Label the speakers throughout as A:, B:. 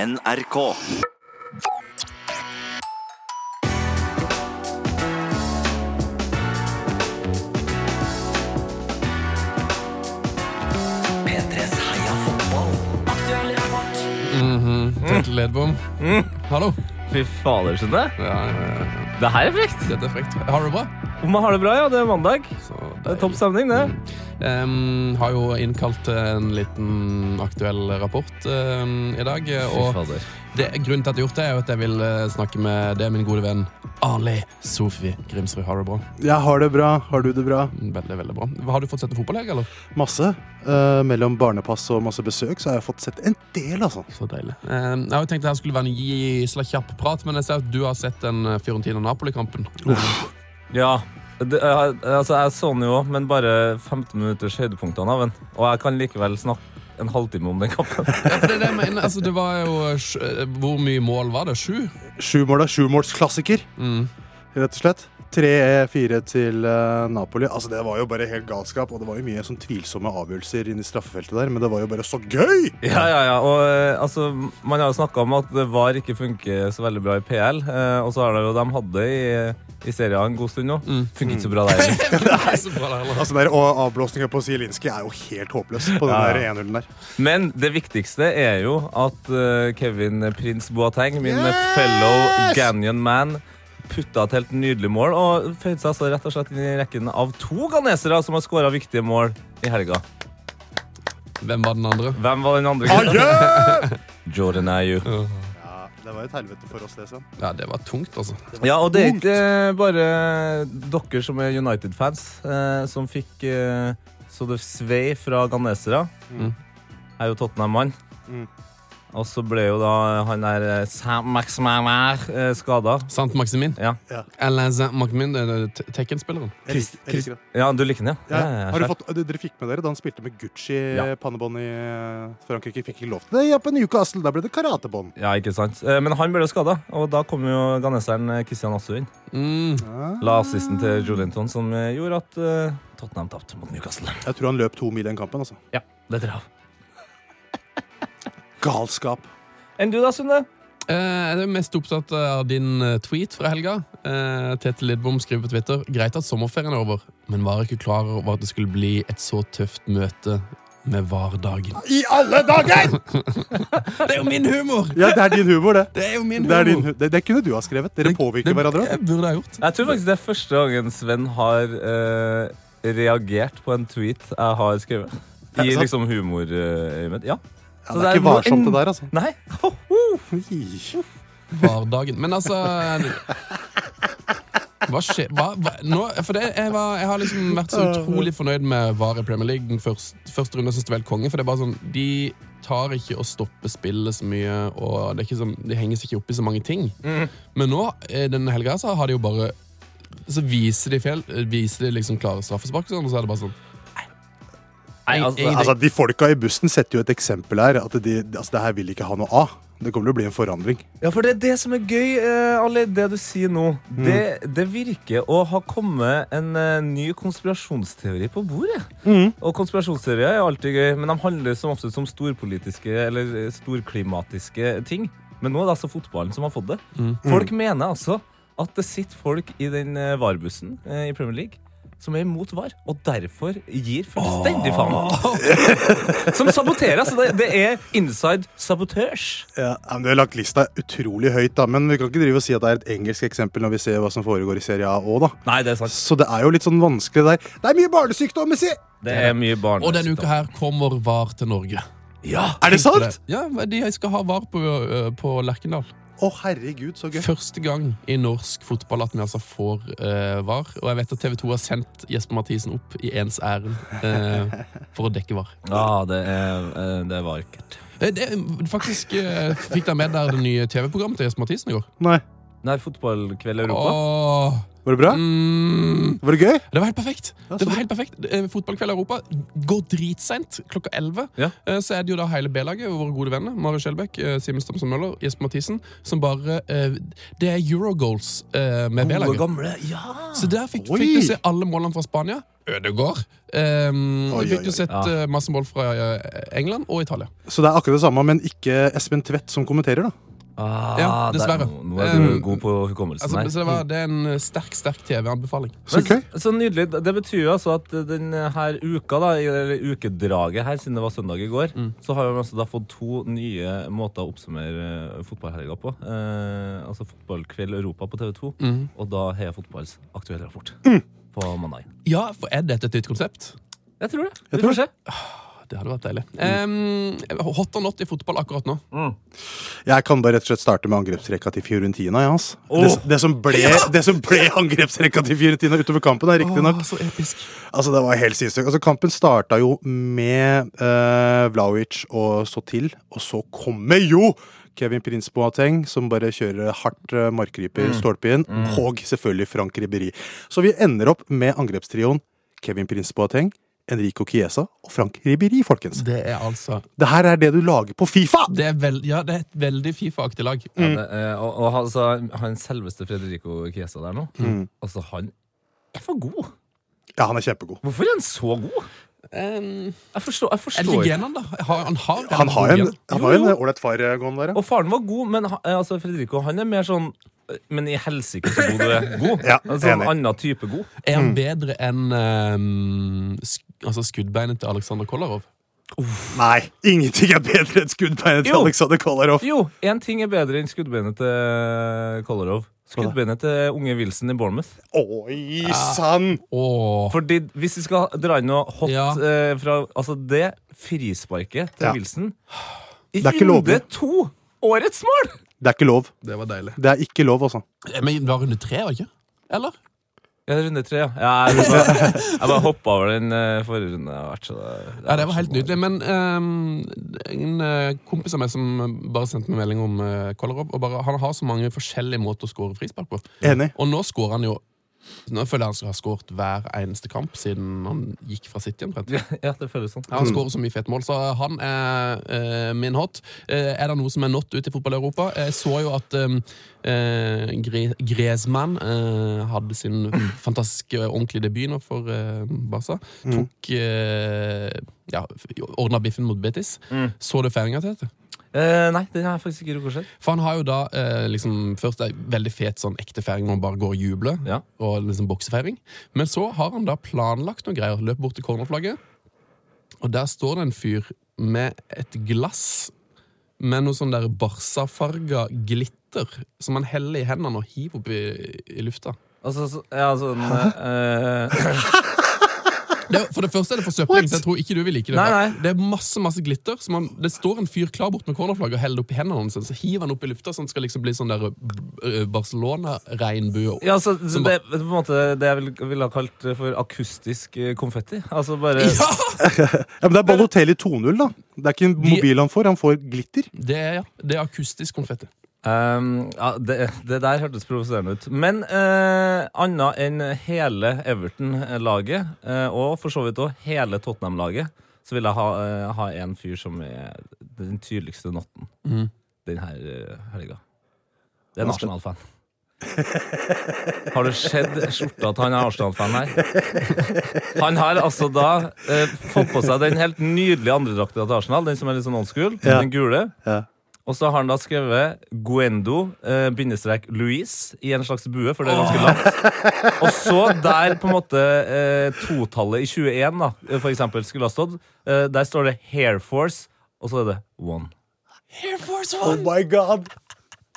A: NRK. P3s Heia fotball.
B: Tete Mhm. Ledbom. Hallo.
C: Mm. Fy fader, skjønner jeg.
B: Ja, ja, ja.
C: Det her er frekt.
B: Dette er frekt. Har du det bra?
C: Man har det bra, ja. Det er mandag.
B: Så
C: Det er topp stemning, det.
B: Em, har jo innkalt til en liten aktuell rapport em, i dag. Og
C: fader.
B: det, grunnen til at jeg har gjort det, er jo at jeg vil eh, snakke med det, min gode venn Ali Sofi Grimsrud. Har du det bra?
D: Jeg har det bra. Har du det bra?
B: Veldig, veldig bra. Har du fått sett en fotballeg, eller?
D: Masse. Eh, mellom barnepass og masse besøk så har jeg fått sett en del, altså.
B: Så deilig. Em, jeg har jo tenkt at det her skulle være en gisla kjapp prat, men jeg ser at du har sett den eh, Fiorentina-Napoli-kampen.
C: Ja. Det, jeg, altså, jeg så den jo, men bare 15 minutters høydepunktene av den. Og jeg kan likevel snakke en halvtime om den kampen.
B: Ja, for det, er det, jeg mener. altså, det var jo sj- eh, Hvor mye mål var det? Sju?
D: Sjumåla, sjumålsklassiker,
B: Mm.
D: rett og slett. 3-4 til eh, Napoli. Altså Det var jo bare helt galskap, og det var jo mye sånn tvilsomme avgjørelser inn i straffefeltet der, men det var jo bare så gøy!
C: Ja, ja, ja. Og eh, altså, man har jo snakka om at VAR ikke funker så veldig bra i PL. Eh, og så har det jo de hatt det i, i serien en god stund nå. Funker ikke så bra der heller.
B: Det er så bra, det, heller.
D: Altså den der Og avblåsninga på Zielinski er jo helt håpløs på den
C: Ja, ja.
D: der 1-0-en der.
C: Men det viktigste er jo at eh, Kevin Prins Boateng, min fellow Ganyan man, putta et helt nydelig mål og føyde seg altså rett og slett inn i rekken av to ghanesere som har skåra viktige mål i helga.
B: Hvem var den andre?
C: Hvem var den andre?
D: Ah,
C: gutten?
D: yeah!
C: Jordan Ayew.
D: ja, det var et helvete for oss, det, Sven.
B: Ja, det var tungt, altså.
C: Ja, og det er ikke eh, bare dere som er United-fans, eh, som fikk eh, så det svei fra ghanesere.
D: Mm.
C: Er jo Tottenham-mann.
D: Mm.
C: Og så ble jo da han der eh, Sam eh, Maxmamer skada.
B: Sant Maximin?
C: Ja.
D: Ja.
B: Alain Saint Maximin, det er Te- Tekken-spilleren.
D: Jeg lik- jeg liker det.
C: Ja, du liker den, ja?
D: Ja,
C: Ja, ja, ja,
D: har du
C: sjef.
D: fått, dere fikk med dere da han spilte med
C: Ja.
D: Gucci-pannebånd i eh, Frankrike? Fikk ikke lov til det ja, på Newcastle. Da ble det karatebånd.
C: ja, ikke sant? Eh, Men han ble jo skada, og da kom jo ganeseren eh, Christian Assu inn.
B: Mm.
D: Ah.
C: La assisten til Jolinton, som eh, gjorde at eh, Tottenham tapte mot Newcastle.
D: Jeg tror han løp to mil den kampen. altså.
C: Ja, det tror jeg.
D: Galskap.
C: Enn du da, Sunne?
B: Eh, jeg er mest opptatt av din eh, tweet fra helga. Eh, Tete Lidbom skriver på Twitter Greit at sommerferien er over, men var ikke klar over at det skulle bli et så tøft møte med VAR-dagen.
D: I alle dager!
B: Det er jo min humor!
D: Ja, Det er din humor, det.
B: Det er jo min
D: Det, er din,
B: humor.
D: hu- det, det kunne du ha skrevet. Dere påvirker hverandre.
B: Det burde jeg gjort.
C: Jeg tror faktisk det er første gangen Sven har eh, reagert på en tweet jeg har skrevet.
D: Er
C: I
D: det sant?
C: liksom humorøyemed. Ja.
D: Ja,
C: Så
D: det er ikke
C: noe-
D: varsomt, det der. altså.
C: Nei. Ho-ho!
D: Nei,
B: VAR-dagen. Men altså hva skjer? Hva, hva, nå, for det, jeg, var, jeg har liksom vært så utrolig fornøyd med VAR i Premier League. Den første, første runden syns det var helt konge. For det er bare sånn, De tar ikke og stopper spillet så mye, og det er ikke sånn, de henger seg ikke opp i så mange ting. Men nå, eh, denne helga, så har de jo bare så viser de fel, viser de liksom klare straffespark, og sånn, og så er det bare sånn
C: Nei, altså,
B: Ingenting.
D: Altså, De folka i bussen setter jo et eksempel her. At de, altså, det her vil ikke ha noe av. Det kommer til å bli en forandring.
C: Ja, for det er det som er gøy, eh, Ali. Det du sier nå. Det, det virker å ha kommet en eh, ny konspirasjonsteori på bordet. Og konspirasjonsteorier er alltid gøy, men de handler som oftest om storpolitiske eller eh, storklimatiske ting. Men nå er det altså fotballen som har fått det. Folk mener altså at det sitter folk i den eh, VAR-bussen eh, i Premier League som er imot VAR, og derfor gir fullstendig faen. Som saboterer. Så det, det er inside saboteurs.
D: Ja, men Du har lagt lista utrolig høyt, da, men vi kan ikke drive og si at det er et engelsk eksempel når vi ser hva som foregår i Serie A òg, da.
C: Nei, det er sant.
D: Så det er jo litt sånn vanskelig der. Det er mye barnesykdommer, si!
C: Det er mye barn.
B: Og denne uka her kommer VAR til Norge.
C: Ja.
D: Er det
B: Tenkte
D: sant?
B: det. Ja, de skal ha VAR på, ø, på Lerkendal.
D: Å, herregud, så gøy.
B: Første gang i norsk fotball at vi altså får eh, VAR. Og jeg vet at TV 2 har sendt Jesper Mathisen opp i ens ærend eh, for å dekke VAR.
C: Ja, det er, eh, det var ekkelt.
B: Eh, det, faktisk eh, fikk dere med der det nye TV-programmet til Jesper Mathisen i går.
D: Nei.
C: Nei, fotballkveld i Europa.
B: Åh,
D: Var det bra?
B: mm,
D: Var det gøy?
B: det var helt perfekt.
D: Ja, så
B: Det var
D: bra.
B: helt perfekt. Eh, Fotballkveld i Europa går dritsent. Klokka 11
C: Ja.
B: Eh, så er det jo da hele B-laget, våre gode venner, Mari Skjelbæk, eh, Simen Stamsen Møller, Jesper Mathisen, som bare eh, Det er Eurogoals eh, med
C: Gode,
B: B-laget.
C: gamle. Ja!
B: Ah. Så der fikk,
D: Oi!
B: fikk du se alle målene fra Spania. Ødegård. Um,
D: Oi, oi,
B: fikk
D: oi.
B: du sett
C: Ja.
B: eh, masse mål fra eh, England og Italia.
D: Så det er akkurat det samme, men ikke Espen Tvedt som kommenterer, da.
C: Ah,
B: Ja,
C: der-
B: dessverre.
C: Nå nå er du
B: Um,
C: god på hukommelsen
B: Altså,
C: her.
B: så det, var, det er en eh, sterk, sterk TV-anbefaling.
D: Så
C: Men
D: gøy.
C: s- så nydelig. Det betyr jo altså at denne her uka, da, eller ukedraget her, siden det var søndag i går,
B: Mm.
C: så har vi altså da fått to nye måter å oppsummere eh, fotballhelga på. Eh, altså Fotballkveld Europa på TV2,
B: Mm.
C: og da Heia Fotballs aktuelle rapport på mandag.
B: Ja, for er dette et nytt konsept? Ah,
C: Jeg tror det.
D: Jeg
C: Vi
D: tror
C: får se.
B: Det hadde vært deilig. Um, hot or not i fotball akkurat nå.
D: Jeg kan bare rett og slett starte med angrepsrekka til Fiorentina. Ja, ass.
C: Åh.
D: Det, det, som ble, det som ble angrepsrekka til Fiorentina utover kampen, er riktig nok.
B: Åh, så episk.
D: Altså, det var helt sinnssykt. Altså, kampen starta jo med eh, Vlaovic og så til, og så kommer jo Kevin Prince Boateng, som bare kjører hardt eh, markryper
C: Mm.
D: stolpe inn, og selvfølgelig Frank Ribéry. Så vi ender opp med angrepstrioen Kevin Prince Boateng, Enrico Chiesa og Frank Ribéry, folkens.
B: Det er altså
D: Det her er det du lager på Fifa!
B: Det er, vel, ja, det er et veldig Fifa-aktig lag.
D: Mm.
C: Ja, det, eh, og og altså, han selveste Fredrico Chiesa der nå, altså han er for god.
D: Ja, han er kjempegod.
C: Hvorfor er han så god?
B: Um,
C: Jeg forstår, jeg forstår
B: er det ikke
C: ikke.
B: genene, da? Har, han har,
D: Han har en
B: gen.
D: han har jo
C: Jo, jo.
D: en ålreit far eh, gående der, ja.
C: Og faren var god, men ha- eh, altså, Fredrico han er mer sånn eh, Men i helsike så god du er. God.
D: Ja,
C: altså, en
D: enig.
C: annen type god.
B: Er
D: Mm.
B: han bedre enn um, sk altså skuddbeinet til Aleksandr Kolarov?
D: Nei, ingenting er bedre enn skuddbeinet til
C: Jo.
D: Alexander Kolarov.
C: Jo, én ting er bedre enn skuddbeinet til eh, Kolarov. Skuddbeinet til unge Wilson i Bournemouth.
D: Oi sann!
B: Åh,
C: Fordi hvis vi skal dra inn noe hot
B: Ja.
C: eh, fra Altså, det frisparket til
D: Ja.
C: Wilson I
D: Det er ikke lovlig.
C: runde to! Årets mål!
D: Det er ikke lov.
B: det var deilig.
D: Det er ikke lov, altså.
B: Eh, Men det var runde tre, var det ikke? Eller?
C: Ja, runde tre, ja. ja jeg bare, jeg bare hoppa over den eh, forrige runden. Det har vært så-
B: Ja, det
C: har vært
B: var
C: så
B: helt
C: mange.
B: nydelig. Men ehm, en eh, kompis av meg som bare sendte meg melding om eh, Kolarov, og bare, han har så mange forskjellige måter å skåre frispark på.
D: Enig.
B: Og nå skårer han jo Nå føler jeg han skal ha skåret hver eneste kamp siden han gikk fra City. omtrent.
C: Ja, det føles sånn.
B: Ja, han skårer så mye fete mål, så han er eh, min hot. Eh, er det noe som er not ute i fotball-Europa? Jeg så jo at um, Griezmann eh, hadde sin fantastiske ordentlige debut nå for eh, Barca. Tok eh, ja, ordna biffen mot Betis. Så du feiringa til dette?
C: Eh, nei, den har jeg faktisk ikke rukket å se.
B: For han har jo da eh, liksom, først ei veldig fet sånn ekte feiring hvor han bare går og jubler.
C: Ja.
B: Og liksom boksefeiring. Men så har han da planlagt noen greier. Løper bort til cornerflagget, og der står det en fyr med et glass med noe sånn der barsafarga glitter som han heller i hendene og hiver opp i, i lufta.
C: Altså, så, ja, sånn eh,
B: Det, er- for det første er det forsøpling, så jeg tror ikke du vil like det.
C: Nei, nei.
B: Det er masse masse glitter. Som han, det står en fyr klar bort med cornerflagget og heller det opp i hendene hans. Så hiver han opp i lufta, så han skal liksom bli sånn der eh, Barcelona-regnbue.
C: ja, så, så
B: Som
C: det, på en måte det jeg ville vil ha kalt for akustisk eh, konfetti. Altså bare
B: Ja!
D: Ja, men det er Balotelli 2.0, da. Det er ikke en mobil han får, han får glitter.
B: Det er, ja, det er akustisk konfetti.
C: Ehm, ja, det, det der hørtes provoserende ut. Men uh, annet enn hele Everton-laget, eh, og for så vidt òg hele Tottenham-laget, så vil jeg ha, eh, ha en fyr som er den tydeligste notten
B: Mhm.
C: den her eh, helga. Det er en
D: Hva skal-
C: Arsenal-fan. Har du sett skjorta til han er Arsenal-fan her? Han har altså da eh, fått på seg den helt nydelige andredrakta til Arsenal, den som er litt sånn old school,
D: Ja.
C: den gule.
D: Ja.
C: Og så har han da skrevet Guendo, eh, bindestrek Louise, i en slags bue, for det er ganske langt. Og så der på en måte eh, totallet i 21, da, eh, for eksempel, skulle ha stått, eh, der står det Hair Force, og så er det One.
B: Air Force
D: Oh my god!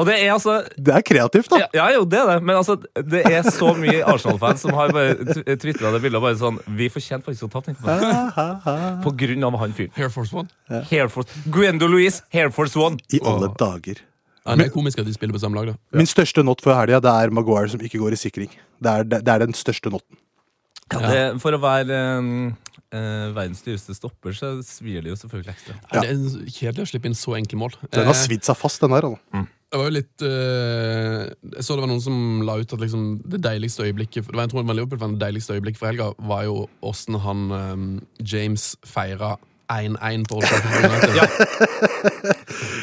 C: Og det er altså
D: Det er kreativt, da.
C: ja, ja, jo, det er det, men altså, det er så mye Arsenal-fans som har bare tvitra det bildet og bare sånn Vi fortjente faktisk å tape den kampen. På grunn av han fyren.
B: Air Force One.
C: Hair Force. Guendo Louise, Hair Force One.
D: I alle dager.
B: Ja, det er komisk at de spiller på samme lag, da.
D: Min største not for helga, det er Maguire som ikke går i sikring. Det er, det, det er den største notten.
C: Ja, det, for å være eh, eh, verdens dyreste stopper, så svir det jo selvfølgelig ekstra.
B: Ja. Det er kjedelig å slippe inn så enkle mål.
D: Eh. Den har svidd seg fast, den der. Altså.
B: Eh, Det var jo litt eh, Jeg så det var noen som la ut at liksom det deiligste øyeblikket for- det var, Jeg tror det var Liverpool-fan, det deiligste øyeblikket for helga var jo åssen han eh, James feira 1-1 på Old Trafford United.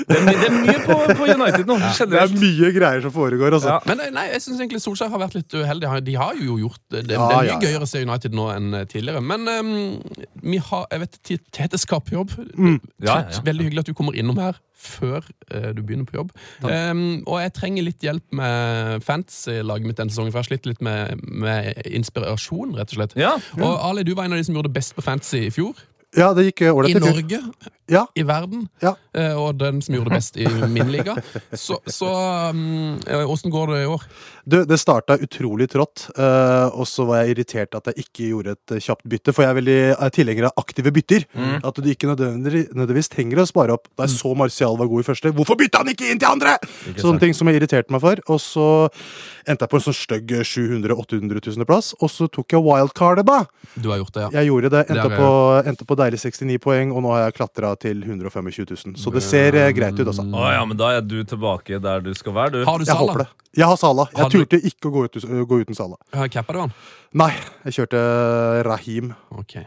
C: Det er, my det er mye på, på United nå.
D: Det er
C: generelt.
D: mye greier som foregår, altså.
C: Ja.
B: Men eh, nei, jeg synes egentlig Solskjær har vært litt uheldig. Han- De har jo gjort eh, det. Det,
D: Ja,
B: det er mye
D: ja, ja.
B: gøyere å se United nå enn eh, tidligere. Men eh, vi har, jeg vet, T- Tete skal på jobb.
C: Mm. Ja, ja, ja.
B: Veldig hyggelig at du kommer innom her før eh, du begynner på jobb. Eh, og jeg trenger litt hjelp med fantasy-laget mitt denne sesongen, for jeg har slitt litt med, med inspirasjon, rett og slett.
C: Ja.
B: Og Ali, du var en av de som gjorde det best på fantasy i fjor.
D: Ja, det gikk eh,
B: I
D: ålreit. i fjor.
B: Norge,
D: Ja,
B: i verden.
D: ja.
B: eh, Og den som gjorde det best i min liga. Så mm, eh, åssen går det i år?
D: Du, det starta utrolig trått, eh, og så var jeg irritert at jeg ikke gjorde et eh, kjapt bytte. For jeg er veldig er tilhenger av aktive bytter.
B: Mm.
D: At du ikke nødvendigvis, nødvendigvis trenger å spare opp. Da jeg så Martial var god i første, hvorfor bytta han ikke inn til andre?! Sånne ting som jeg irriterte meg for. Og så endte jeg på en sånn stygg 700 000-800 000-plass, og så tok jeg wildcardet, da!
B: Du har gjort det, ja.
D: Jeg gjorde det. Endte,
B: Det er det.
D: på, endte på deilig 69 poeng, og nå har jeg klatra til 125 000. Så det ser eh, greit ut,
B: Mm.
D: altså.
C: Å ja, men da er du tilbake der du skal være, du.
B: Har du
D: Jeg
B: Salah?
D: håper det. Jeg har Sala.
B: Har
D: Jeg
B: du-
D: turte ikke å gå, ut, gå uten Sala.
B: Har jeg cappa det, han?
D: Nei, jeg kjørte Rahim.
B: Ok.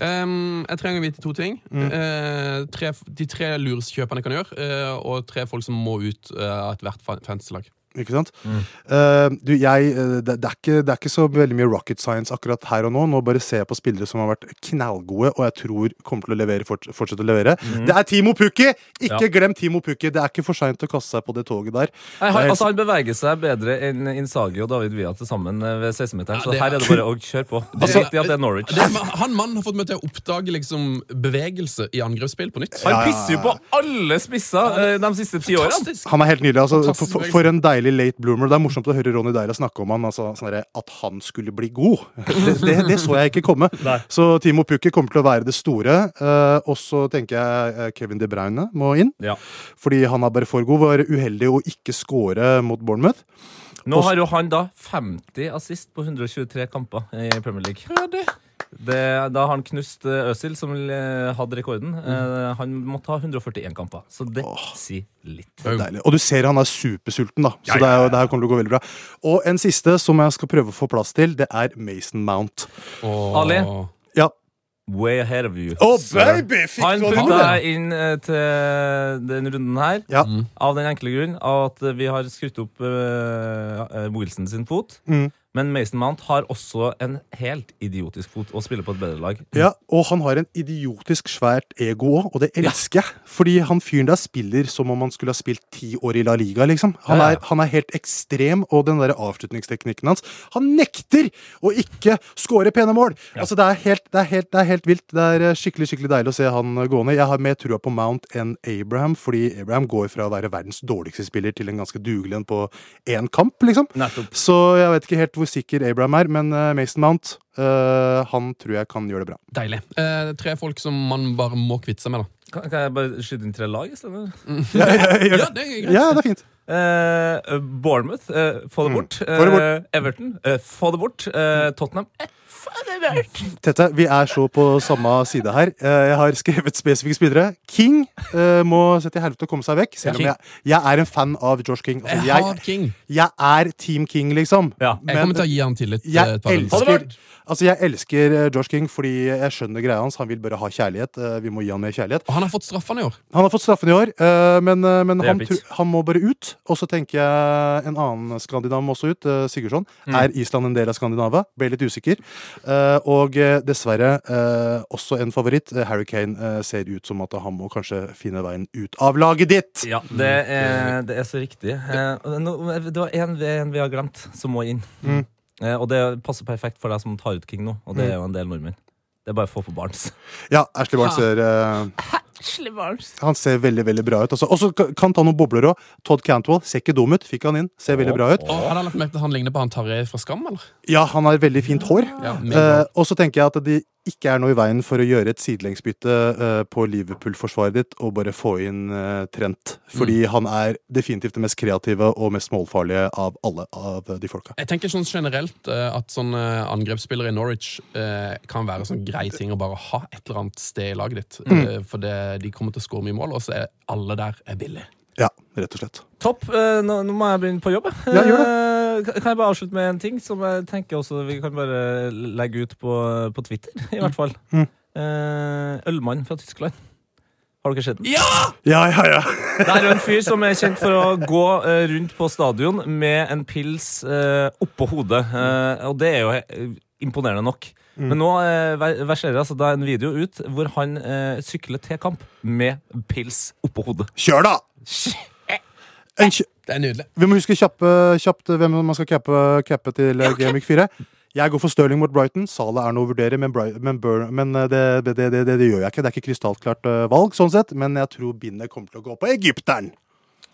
B: Ehm, jeg trenger å vite to ting. Eh, tre, de tre lureskjøpene jeg kan gjøre, eh, og tre folk som må ut eh, av ethvert fa- fantasy-lag.
D: Ikke sant? Eh, du, jeg, eh, det, det, er ikke, det er ikke så veldig mye rocket science akkurat her og nå. Nå bare ser jeg på spillere som har vært knallgode, og jeg tror kommer til å levere, forts- fortsette å levere. Det er Timo Pukki! Ikke
C: Ja.
D: glem Timo Pukki! Det er ikke for seint å kaste seg på det toget der.
C: Nei,
D: Det
C: han,
D: er-
C: altså, han beveger seg bedre enn Insagi og David Villa til sammen eh, ved 16-meteren,
B: Ja,
C: så
B: det er-
C: her er det bare å kjøre på. Det er
B: Altså-
C: riktig at det er Norwich.
B: Det, han mannen har fått meg til å oppdage liksom, bevegelse i angrepsspill på nytt.
C: Han pisser jo på alle spisser eh, de siste ti årene.
B: Fantastisk!
D: Han er helt nydelig. altså
B: Fantastisk
D: for, for,
B: bevegelse.
D: for en deilig late bloomer. Det er morsomt å høre Ronny Deila snakke om han altså, sånn derre, at han skulle bli god. Det, det, det så jeg ikke komme. Så Timo Pukki kommer til å være det store. eh, og så tenker jeg eh, Kevin De Bruyne må inn.
C: Ja.
D: Fordi han er bare for god. Var uheldig å ikke score mot Bournemouth.
C: Nå har jo han da 50 assist på 123 kamper i Premier League. Det, da har han knust eh, Øzil, som eh, hadde rekorden.
D: Mm.
C: Eh, Han måtte ha 141 kamper, så det sier litt.
B: Jo.
D: Deilig. Og du ser han er supersulten, da. Så Det, er, jo- det her kommer til å gå veldig bra. Og en siste som jeg skal prøve å få plass til, det er Mason Mount.
B: Åh.
C: Ali?
D: Ja.
C: Way ahead of you.
D: Oh,
C: sir.
D: baby! Fikk
C: Han
D: du den?
C: putta deg inn eh, til den runden her
D: Ja.
C: av den enkle grunn at eh, vi har skrutt opp eh, eh, Wilson sin fot.
D: Mm.
C: Men Mason Mount har også en helt idiotisk fot og spiller på et bedre lag.
D: Ja, og han har en idiotisk svært ego òg, og det elsker jeg. Fordi han fyren der spiller som om han skulle ha spilt ti år i La Liga, liksom. Han
C: Ja, ja.
D: er, han er helt ekstrem, og den derre avslutningsteknikken hans Han nekter å ikke score pene mål! Altså, det er, helt, det, er helt, det er helt vilt. Det er eh, skikkelig skikkelig deilig å se han eh, gående. Jeg har mer trua på Mount enn Abraham, fordi Abraham går fra å være verdens dårligste spiller til en ganske dugelig en på én kamp, liksom.
C: Nettopp.
D: Så jeg vet ikke helt hvor sikker Abraham er, men eh, Mason Mount, eh, han tror jeg kan gjøre det bra.
B: Deilig. Eh, tre folk som man bare må kvitte seg med, da.
C: Kan, kan jeg bare skyte inn tre lag istedenfor?
B: Ja, det er greit.
D: Ja, det er fint.
C: Eh, Bournemouth, eh, få det bort.
D: Mm. få det bort.
C: Eh, Everton, eh, få det bort. Eh, Tottenham, eh, få det bort.
D: Tete, vi er så på samme side her. Eh, Jeg har skrevet spesifikke spillere. King eh, må se til helvete og komme seg vekk. Selv om
B: King.
D: jeg, jeg er en fan av George King. Altså,
B: Jeg har
D: jeg,
B: King.
D: jeg er Team King, liksom.
C: Ja.
B: Jeg kommer
D: Men
B: til å gi han tillit. eh,
D: jeg
B: et par runder.
D: elsker, altså, jeg elsker eh, George King fordi jeg skjønner greia hans. Han vil bare ha kjærlighet. Eh, Vi må gi han mer kjærlighet.
B: Og han har fått straffene i år.
D: Han har fått straffen i år, eh, men, eh, men
C: Det
D: han,
C: hjelper
D: tru-
C: ikke.
D: han må bare ut. Og så tenker jeg en annen skandinav må også ut. eh, Sigurdsson. Er Island en del av Skandinava? Ble litt usikker. Eh, Og eh, dessverre eh, også en favoritt. Eh, Harry Kane eh, ser ut som at han må kanskje finne veien ut av laget ditt!
C: Ja, det
D: Mm.
C: er, det er så riktig. Eh, nå- Det var én vi, en vi har glemt, som må inn.
D: Mm.
C: Eh, og det passer perfekt for deg som tar ut King nå, og det er jo en del nordmenn. Det er bare å få på Barents.
D: Ja, Ashley Barnes ser eh, Han ser veldig veldig bra ut. altså. Og så ka- kan ta noen bobler òg. Todd Cantwell ser ikke dum ut. Fikk han inn. Ser veldig bra ut.
B: Og har han lagt merke til at han ligner på han Tarjei fra Skam, eller?
D: Ja, han har veldig fint hår.
B: Ja, med
D: Eh, og så tenker jeg at det ikke er noe i veien for å gjøre et sidelengsbytte eh, på Liverpool-forsvaret ditt og bare få inn eh, Trent. Fordi
B: Mm.
D: han er definitivt det mest kreative og mest målfarlige av alle av de folka.
B: Jeg tenker sånn generelt eh, at sånne angrepsspillere i Norwich eh, kan være sånn grei ting å bare Mm. ha et eller annet sted i laget ditt. Eh, for det, de kommer til å skåre mye mål, og så er alle der er billig.
D: Ja, rett og slett.
C: Topp. Eh, Nå, nå må jeg begynne på jobb. jeg.
D: Ja, gjør
C: Eh, kan- Kan jeg bare avslutte med en ting som jeg tenker også vi kan bare legge ut på, på Twitter? I hvert fall.
D: Mm.
C: Eh, Ølmann fra Tyskland. Har dere sett den?
B: Ja!
D: Ja, ja, ja.
C: Det er jo en fyr som er kjent for å gå eh, rundt på stadion med en pils eh, oppå hodet. Eh, Og det er jo eh, imponerende nok.
D: Mm.
C: Men nå eh, ver- verserer altså da en video ut hvor han eh, sykler til kamp med pils oppå hodet.
D: Kjør, da! En kjø
B: Det er nydelig.
D: Vi må huske kjappe, kjapt eh, hvem man skal cappe, cappe til eh, Game Week 4. Jeg går for Stirling mot Brighton. Salah er noe å vurdere, men, Bri men, Bur men eh, det, det, det, det, det gjør jeg ikke. Det er ikke krystallklart eh, valg, sånn sett. Men jeg tror bindet kommer til å gå på egypteren.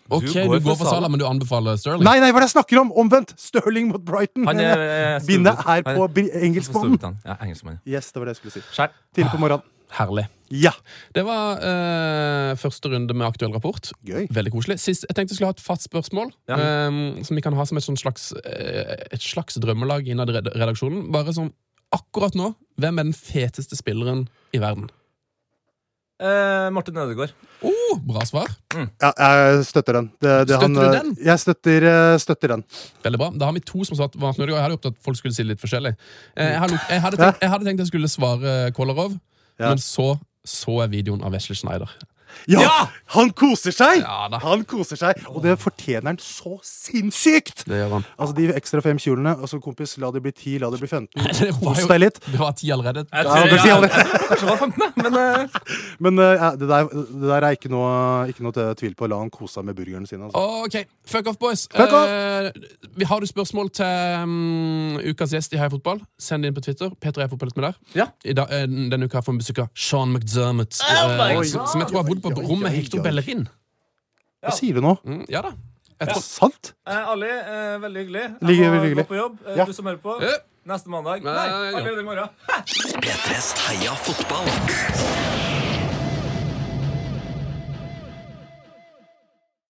B: Ok, Du går, for Salah, men du anbefaler Sterling?
D: Nei, nei, hva er det jeg snakker om? Omvendt! Stirling mot Brighton.
C: Han er, eh,
D: bindet er
C: han-
D: på bri- engelskmannen.
C: Storbritannia. Ja, engelskmann.
D: Yes, det var det jeg skulle si.
C: Skjær.
D: Tidlig på morgenen.
B: Herlig.
D: Ja.
B: Det var eh, første runde med aktuell rapport.
D: Gøy.
B: Veldig koselig. Sist, jeg tenkte jeg skulle ha et fast spørsmål
C: Ja.
B: eh, som vi kan ha som et, sånn slags, eh, et slags drømmelag innad i red- redaksjonen. Bare sånn akkurat nå. Hvem er den feteste spilleren i verden?
C: Eh, Martin Ødegaard.
B: Oh, bra svar.
D: ja, jeg støtter den. Det, det,
B: Støtter du
D: eh,
B: den?
D: Jeg støtter, eh, støtter den.
B: Veldig bra. Da har vi to som sa at Martin Ødegaard. Jeg hadde håpet at folk skulle si det litt forskjellig. Eh, Jeg hadde, jeg hadde, tenkt, jeg hadde tenkt jeg skulle svare eh, Kolarov,
D: Ja.
B: men så så jeg videoen av Vesle Schneider.
D: Ja!
C: Ja!
D: Han koser seg!
B: Ja da.
D: Han koser seg, og det fortjener han så sinnssykt!
B: Det gjør han.
D: Altså De ekstra fem kjolene. Altså Kompis, la det bli 10, la det bli 15.
B: Det var
D: Kos
B: jo-
D: deg litt.
B: Det var ti allerede.
C: Jeg
D: Ja, det
C: jeg-
D: sier alle.
C: jeg tror kanskje det var 15, men eh,
D: Men eh, ja, det, der, det der er ikke noe, ikke noe til tvil på. La han kose seg med burgerne sine. Altså.
B: Ok, fuck off, boys.
D: Fuck off!
B: Eh, vi har du spørsmål til mm, ukas gjest i Heia Fotball, send det inn på Twitter. Peter Heia Fotball med der.
C: Ja.
B: I dag, eh, denne uka får vi besøk av Sean McDermott, eh,
D: Oh God.
B: som, som jeg tror har bodd på
D: Oi, oi,
B: rommet
D: oi,
B: Hector
D: oi.
B: Bellerin.
D: Hva sier du nå?
B: Mm, ja da.
D: Er
B: Jeg
D: det
B: tror,
D: sant?
C: eh, Ali, eh, veldig hyggelig. Jeg
D: Ligger
C: må
D: veldig hyggelig.
C: Gå på jobb. Eh,
D: Ja.
C: Du som hører på.
B: Ja.
C: Neste mandag.
B: Nei,
C: Nei,
B: ja.
C: allerede i morgen.
A: P3s heia fotball.